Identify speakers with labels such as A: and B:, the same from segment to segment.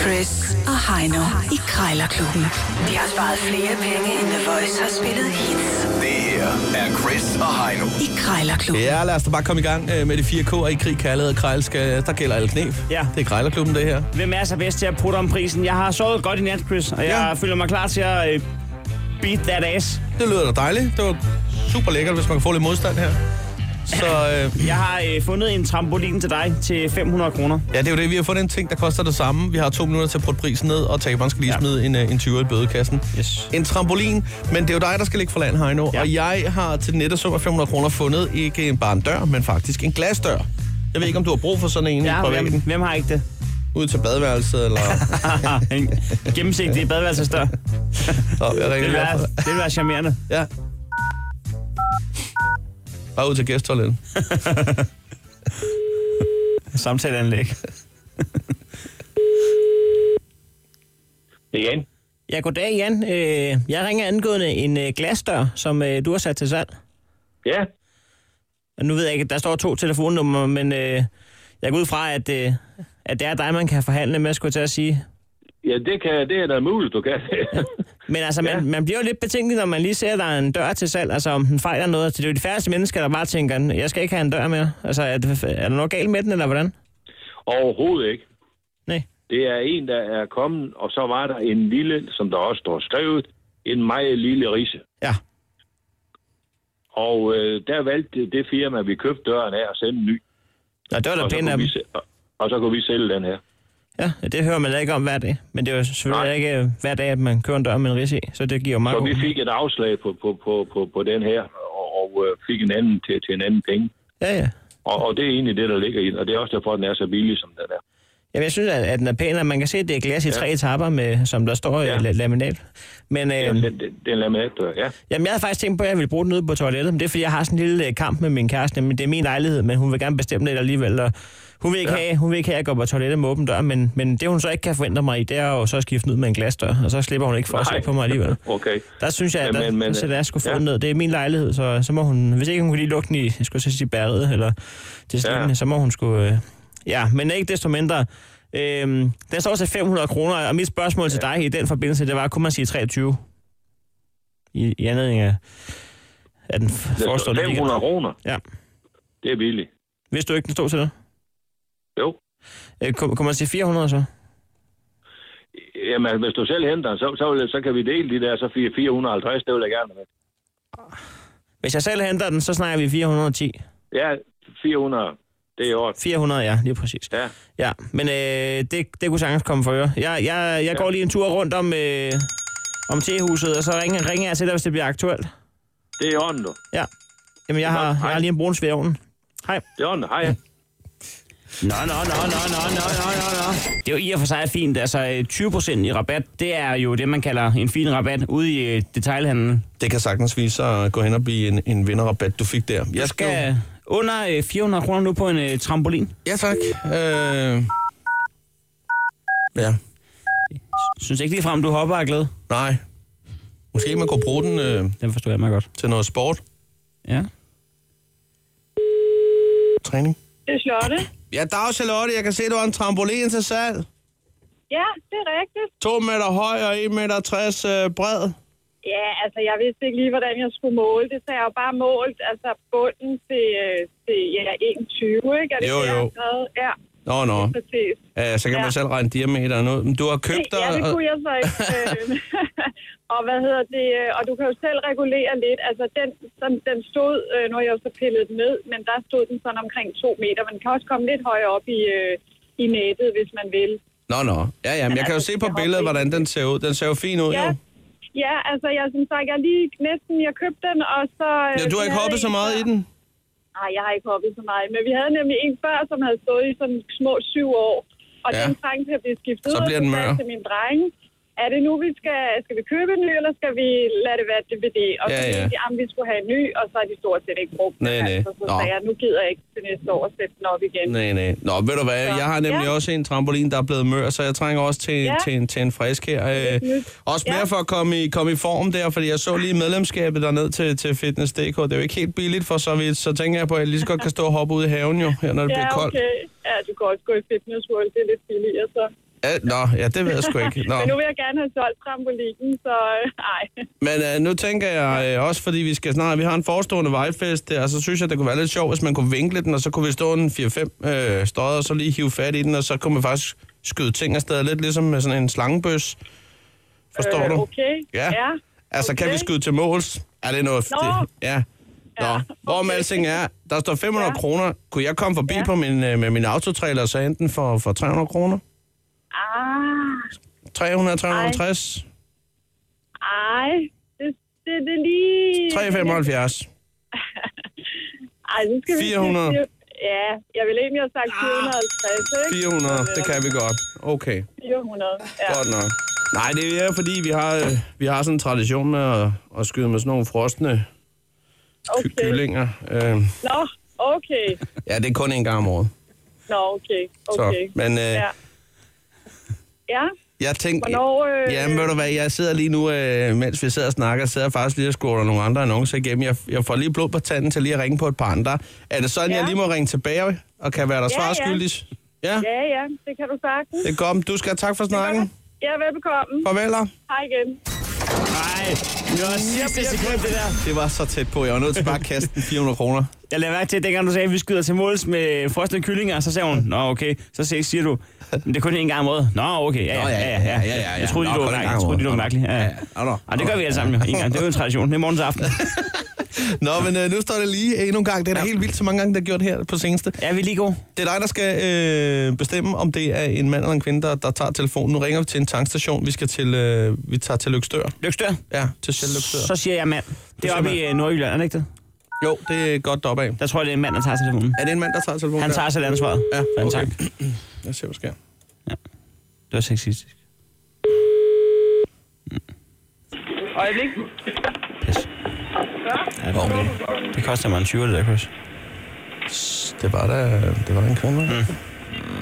A: Chris og Heino i Krejlerklubben. De har sparet flere penge, end The Voice har spillet hits
B: Det her er Chris og Heino.
A: i Krejlerklubben.
C: Ja, lad os da bare komme i gang øh, med de fire K'er i krig, kærlighed og krejl. Skal, der gælder alle knep.
D: Ja.
C: Det er krejlerklubben, det her.
D: Hvem er så bedst til at putte om prisen? Jeg har sovet godt i nat, Chris, og jeg
C: Ja.
D: føler mig klar til at øh, beat that ass.
C: Det lyder da dejligt. Det var super lækkert, hvis man kan få lidt modstand her. Så øh,
D: Jeg har øh, fundet en trampolin til dig til 500 kroner.
C: ja, det er jo det. Vi har fundet en ting, der koster det samme. Vi har to minutter til at putte prisen ned, og taberen skal lige
D: Ja.
C: smide en, øh, en 20 i bødekassen.
D: Yes.
C: En trampolin, men det er jo dig, der skal ligge for land, Heino.
D: Ja.
C: Og jeg har til nette sum af 500 kroner fundet ikke en bare en dør, men faktisk en glasdør. Jeg ved ikke, om du har brug for sådan en ja, på
D: Ja, hvem,
C: væggen.
D: hvem har ikke det?
C: Ud til badeværelset, eller...
D: Haha, en gennemsigtig badeværelsesdør. Det
C: Nå, jeg ringer
D: vil
C: lige
D: være,
C: op.
D: det vil være charmerende.
C: Ja. Bare ud til gæsttoiletten.
D: Samtaleanlæg.
E: Det er Jan.
D: Ja, goddag Jan. Øh, Jeg ringer angående en øh, glasdør, som øh, du har sat til salg.
E: Ja,
D: Og Nu ved jeg ikke, der står to telefonnumre, men øh, jeg går ud fra, at, øh, at det er dig, man kan forhandle med, skulle jeg til at sige.
E: ja det, kan, det er da muligt, du kan.
D: Men altså, man,
E: Ja.
D: man bliver jo lidt betænkelig, når man lige ser, at der er en dør til salg, altså om den fejler noget. Altså, det er jo de færreste mennesker, der bare tænker, jeg skal ikke have en dør mere. Altså, er, det, er der noget galt med den, eller hvordan?
E: Overhovedet ikke.
D: Nej.
E: Det er en, der er kommet, og så var der en lille, som der også står skrevet, en meget lille risse.
D: Ja.
E: Og øh, der valgte det firma, vi købte døren af, at sende en ny.
D: Nå, det var da
E: Og så,
D: pænt af
E: kunne
D: dem.
E: vi, sæ- og- og så kunne vi sælge den her.
D: Ja, det hører man da ikke om hver dag. Men det er jo selvfølgelig
E: Nej.
D: ikke øh, hver dag, at man kører en dør med en ris i, så det giver jo meget
E: Så vi
D: god-
E: fik et afslag på, på, på, på, på den her, og, og øh, fik en anden til, til en anden penge.
D: Ja, ja.
E: Og, og det er egentlig det, der ligger i den, og det er også derfor, den er så billig, som den er.
D: Jamen, jeg synes, at, at den er pæn, og man kan se, at det er glas i ja. tre etapper, med, som der står ja.
E: Ja.
D: la- laminat. Men øh,
E: Den, den, den, den laminatdør, ja.
D: Jamen, jeg havde faktisk tænkt på, at jeg ville bruge den ude på toilettet, men det er, fordi jeg har sådan en lille øh, kamp med min kæreste. Men det er min lejlighed, men hun vil gerne bestemme lidt alligevel. Og hun, vil ikke ja. have, hun vil ikke have, at jeg går på toilettet med åben dør, men, men det hun så ikke kan forvente mig i, det er jo så at skifte den ud med en glasdør, og så slipper hun ikke for at se
E: Nej.
D: på mig alligevel.
E: Okay.
D: Der synes jeg, at
E: Ja,
D: der,
E: men- men,
D: der, sætter jeg sgu få
E: ja.
D: ned. Det er min lejlighed, så, så må hun, hvis ikke hun kunne lige lukke den i, jeg skulle til at sige bæret, eller det slimme, ja. så må hun sgu... Øh, ja, men ikke desto mindre. Øhm, den står til 500 kroner, og mit spørgsmål ja. til dig i den forbindelse, det var, kunne man sige 23? I, i anledning af, af den
E: Det er
D: forestående weekend.
E: 500 kroner.
D: Ja.
E: Det er billigt.
D: Hvis du ikke den stod til det.
E: Jo.
D: Øh, kunne, kunne man sige 400 så?
E: Jamen, hvis du selv henter den, så, så, vil jeg- så kan vi dele de der, så fire- 450, det vil jeg gerne med.
D: Hvis jeg selv henter den, så snakker vi 410.
E: Ja, 400, det er i orden.
D: 400, ja, lige præcis.
E: Ja,
D: Ja, men øh, det, det kunne sagtens komme for øre. Jeg, jeg, jeg går lige en tur rundt om, øh, om tehuset, og så ringer, ringer jeg til dig, hvis det bliver aktuelt.
E: det er i orden, du.
D: Ja. Jamen, jeg har, jeg har lige en brun svær i ovnen. Hej.
E: Det er i orden, hej.
D: Nå, nå, nå, nå, nå, nå, nå, nå, nå. Det er jo i og for sig fint. Altså, øh, 20% i rabat, det er jo det, man kalder en fin rabat ude i øh, detailhandlen.
C: Det kan sagtens vise sig at gå hen og blive en, en vinderrabat, du fik der.
D: Jeg
C: Jeg
D: skal øh, under øh, 400 kroner nu på en øh, trampolin.
C: Ja, tak. Øh... Ja.
D: Synes ikke ligefrem, du hopper af glæde.
C: Nej. Måske man kunne bruge den øh,
D: Den forstår jeg meget godt.
C: til noget sport,
D: Ja.
C: træning.
F: Det er Charlotte.
C: Ja, dag Charlotte. Jeg kan se, du har en trampolin til salg.
F: Ja, det er rigtigt.
C: To meter høj og 1,60 meter øh, bred.
F: Ja, altså jeg vidste ikke lige, hvordan jeg skulle måle det, så jeg har jo bare målt altså bunden til, øh, til ja, 21, ikke? Er det
C: Jo,
F: det, jeg
C: jo.
F: har skrevet? Ja,
C: Nå, nå.
F: præcis.
C: Ja, så kan man
F: Ja.
C: selv regne diameteren ud. Men du har købt
F: Ja, det
C: dig... og-
F: kunne jeg så ikke. øh, og hvad hedder det? øh, Og du kan jo selv regulere lidt. Altså den, som den stod, øh, nu har jeg jo så pillet den ned, men der stod den sådan omkring to meter. Man kan også komme lidt højere op i, øh, i nettet, hvis man vil.
C: Nå, nå. Ja, ja, men jeg kan jo
F: altså,
C: se på
F: jeg har
C: billedet,
F: prisen.
C: hvordan den ser ud. Den ser jo fin ud,
F: Ja.
C: jo.
F: Ja, altså jeg som sagt, jeg lige næsten, jeg købte den, og så... øh,
C: Ja, du har
F: vi
C: ikke
F: havde
C: hoppet så
F: en
C: meget i
F: før.
C: den?
F: Nej, jeg har ikke hoppet så meget. Men vi havde nemlig en før, som havde stået i sådan små syv år. Og
C: Ja.
F: ja. den trængte til at blive skiftet
C: Så
F: ud,
C: bliver
F: og
C: den
F: sagde jeg
C: mør.
F: til min dreng. Er det nu, vi skal, skal vi købe en ny, eller skal vi lade det være DVD? Og så
C: Ja, ja.
F: mente de, at vi skulle have en ny, og så har de stort set ikke brugt
C: Nej,
F: den.
C: nej.
F: Altså, så
C: Nå.
F: sagde jeg, nu gider jeg ikke til næste år at sætte den op igen.
C: Nej, nej. Nå, ved du hvad,
F: Så,
C: jeg har nemlig
F: ja.
C: også en trampolin, der er blevet mør, så jeg trænger også til, ja.
F: Ja.
C: til, en, til en frisk her. Øh,
F: nyt.
C: også mere
F: Ja.
C: for at komme i, komme i form der, fordi jeg så lige medlemskabet derned til, til Fitness.dk. Det er jo ikke helt billigt for så vidt, så tænker jeg på, at jeg lige så godt kan stå og hoppe ude i haven jo, her, når det
F: Ja,
C: bliver koldt.
F: okay. Ja, du kan også gå i Fitness World, det er lidt billigere så.
C: Øh, Nå, ja, det ved jeg sgu ikke. Nå.
F: Men nu vil jeg gerne have solgt trampolinen, så nej.
C: Men øh, nu tænker jeg øh, også, fordi vi skal snart, vi har en forestående vejfest, der, og så synes jeg, det kunne være lidt sjovt, hvis man kunne vinkle den, og så kunne vi stå en 4-5 øh, støder, og så lige hive fat i den, og så kunne man faktisk skyde ting afsted, lidt ligesom med sådan en slangebøs. Forstår du?
F: Øh, Okay.
C: Ja.
F: ja.
C: Altså, kan vi skyde til måls? Er det noget?
F: Nå.
C: Det, ja. Nå,
F: Ja,
C: hvor med
F: okay.
C: alting er, der står 500 ja.
F: Ja.
C: kroner. Kunne jeg komme forbi ja. på min, øh, med min autotrailer og så enten for, for 300 kroner?
F: Ah,
C: 300, 350,
F: ej. Det, det, det er lige...
C: 375.
F: Ej, nu skal vi...
C: 400.
F: Ja, jeg ville egentlig have sagt 450, ikke?
C: 400, Ah, det kan vi godt. Okay.
F: 400, ja.
C: Godt nok. Nej, det er fordi, vi har, øh, vi har sådan en tradition med at, at skyde med sådan nogle frostne ky-
F: Okay.
C: kyllinger. Øh,
F: Nå, okay.
C: ja, det er kun en gang om året.
F: Nå, okay.
C: Så,
F: Okay.
C: men, øh,
F: Ja. Ja,
C: Jeg tænkte...
F: Hvornår, øh,
C: Jamen, ved du hvad, jeg sidder lige nu, øh, mens vi sidder og snakker, sidder jeg faktisk lige og scroller nogle andre annoncer igennem. Jeg, jeg får lige blod på tanden til lige at ringe på et par andre. Er det sådan, ja.
F: Ja.
C: jeg lige må ringe tilbage og kan være der
F: Ja,
C: svar
F: ja.
C: skyldig? Ja. ja.
F: ja, ja. Det kan du sagtens.
C: Det er godt. Du skal have tak for snakken.
F: Ja, velbekomme.
C: Farvel. og-
F: Hej igen.
D: Nej, det var sidste sekund, det der.
C: Det var så tæt på. Jeg var nødt til bare at kaste den 400 kroner.
D: Jeg lader mærke til, at dengang du sagde, at vi skyder til måls med frosne kyllinger, så sagde hun, nå okay, så se- siger du, men det er kun en gang om året. Nå okay, ja,
C: Nå,
D: ja, ja, ja, ja, ja,
C: ja.
D: Jeg troede,
C: Nå,
D: lige, du var
C: kun en
D: mærkelig.
C: gang om
D: Jeg troede, lige, du var
C: året.
D: mærkelig. Ja, ja.
C: Nå, nå.
D: Ej, det gør vi alle sammen jo. En gang. Det er jo en tradition. Det er morgens aften.
C: Nå, men øh, nu står det lige endnu en gang. Det er da helt vildt, så mange gange, der er gjort her på seneste.
D: Er vi lige gode?
C: Det er dig, der skal øh, bestemme, om det er en mand eller en kvinde, der, der tager telefonen. Nu ringer vi til en tankstation. Vi, skal til, øh, vi tager til Lykstør.
D: Lykstør?
C: Ja, til selv Lykstør.
D: Så siger jeg mand. Det
C: siger
D: er oppe
C: mand.
D: i øh, Nordjylland, er det ikke det?
C: Jo, det er godt deroppe af.
D: Der tror jeg, det er en mand, der tager telefonen.
C: Er det en mand, der tager telefonen?
D: Han
C: der?
D: tager selv ansvaret. For
C: Ja,
D: en
C: okay.
D: sang.
C: Jeg ser, hvad der sker.
D: Det var sexistisk.
F: Øjeblik.
D: Pis. Ja, det, okay. det koster mig en 20 det der, Chris.
C: Det var da, det var da en kvinde. Mm.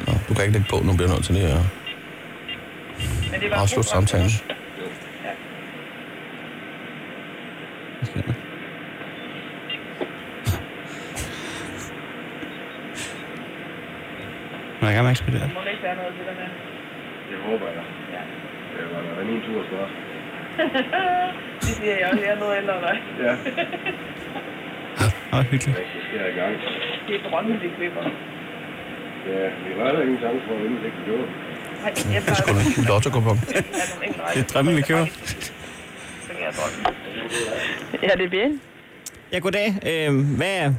C: Nå, du kan ikke lægge på, nu bliver jeg nødt til lige at afslutte samtalen.
D: Hvad sker der? Må jeg gerne med at ekspedere?
E: Det håber jeg. Ja. Det var da min tur snart.
D: Åh, hyggeligt.
E: Det sker i gang. Det er drømmen, vi klipper. Ja, vi var der ingen chance for at vinde, hvis ikke vi gjorde.
C: Det er sgu da en lotto
D: Det er drømmen, vi kører.
G: Ja, det er bien.
D: Ja, goddag. Øh, hvad,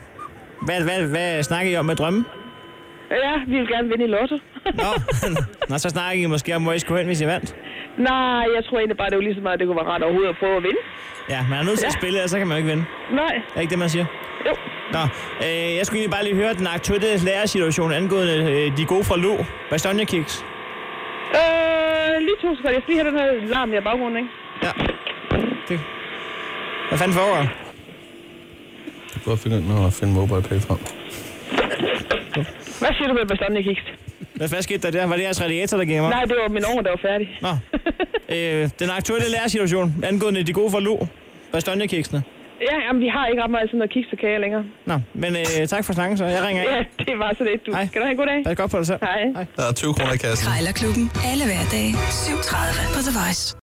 D: hvad, hvad, hvad snakker I om med drømme?
G: Ja, vi vil gerne vinde i lotto.
D: Nå, Nå så snakker I måske om, hvor I skulle hen, hvis I vandt.
G: Nej, jeg tror egentlig bare, det var lige så meget, det kunne være rart overhovedet at prøve at vinde.
D: Ja, man er nødt til at spille, ellers så kan man jo ikke vinde.
G: Nej,
D: Er ikke det, man siger?
G: Jo.
D: Nå, øh, jeg skulle egentlig bare lige høre den aktuelle lærersituation angående øh, de gode fra Lå. Bastogne Kicks.
G: øh, lige to sekunder. Jeg skal lige have den her larm i baggrunden, ikke?
D: Ja. Det. Hvad fanden foregår? der?
C: Du kan finde ud med at finde mobile pay frem.
G: Hvad siger du med bestanden, Kiks?
D: Hvad, hvad skete der der? Var det jeres radiator, der gik mig?
G: Nej, det var min unge, der var færdig.
D: Nå. Øh, den aktuelle lærersituation angående de gode fra Lå. Bastogne Kicksene.
G: Ja, jamen, vi har ikke ret meget sådan noget kiks til kage længere.
D: Nå, men øh, tak for snakken, så jeg ringer
G: Ja,
D: af.
G: det var så lidt, du.
D: Hej.
G: Skal du have en god dag?
D: Pas godt på dig selv.
G: Hej.
C: Der er 20 kroner i kassen.
A: Krejlerklubben. Alle hverdage 7.30 på The Voice.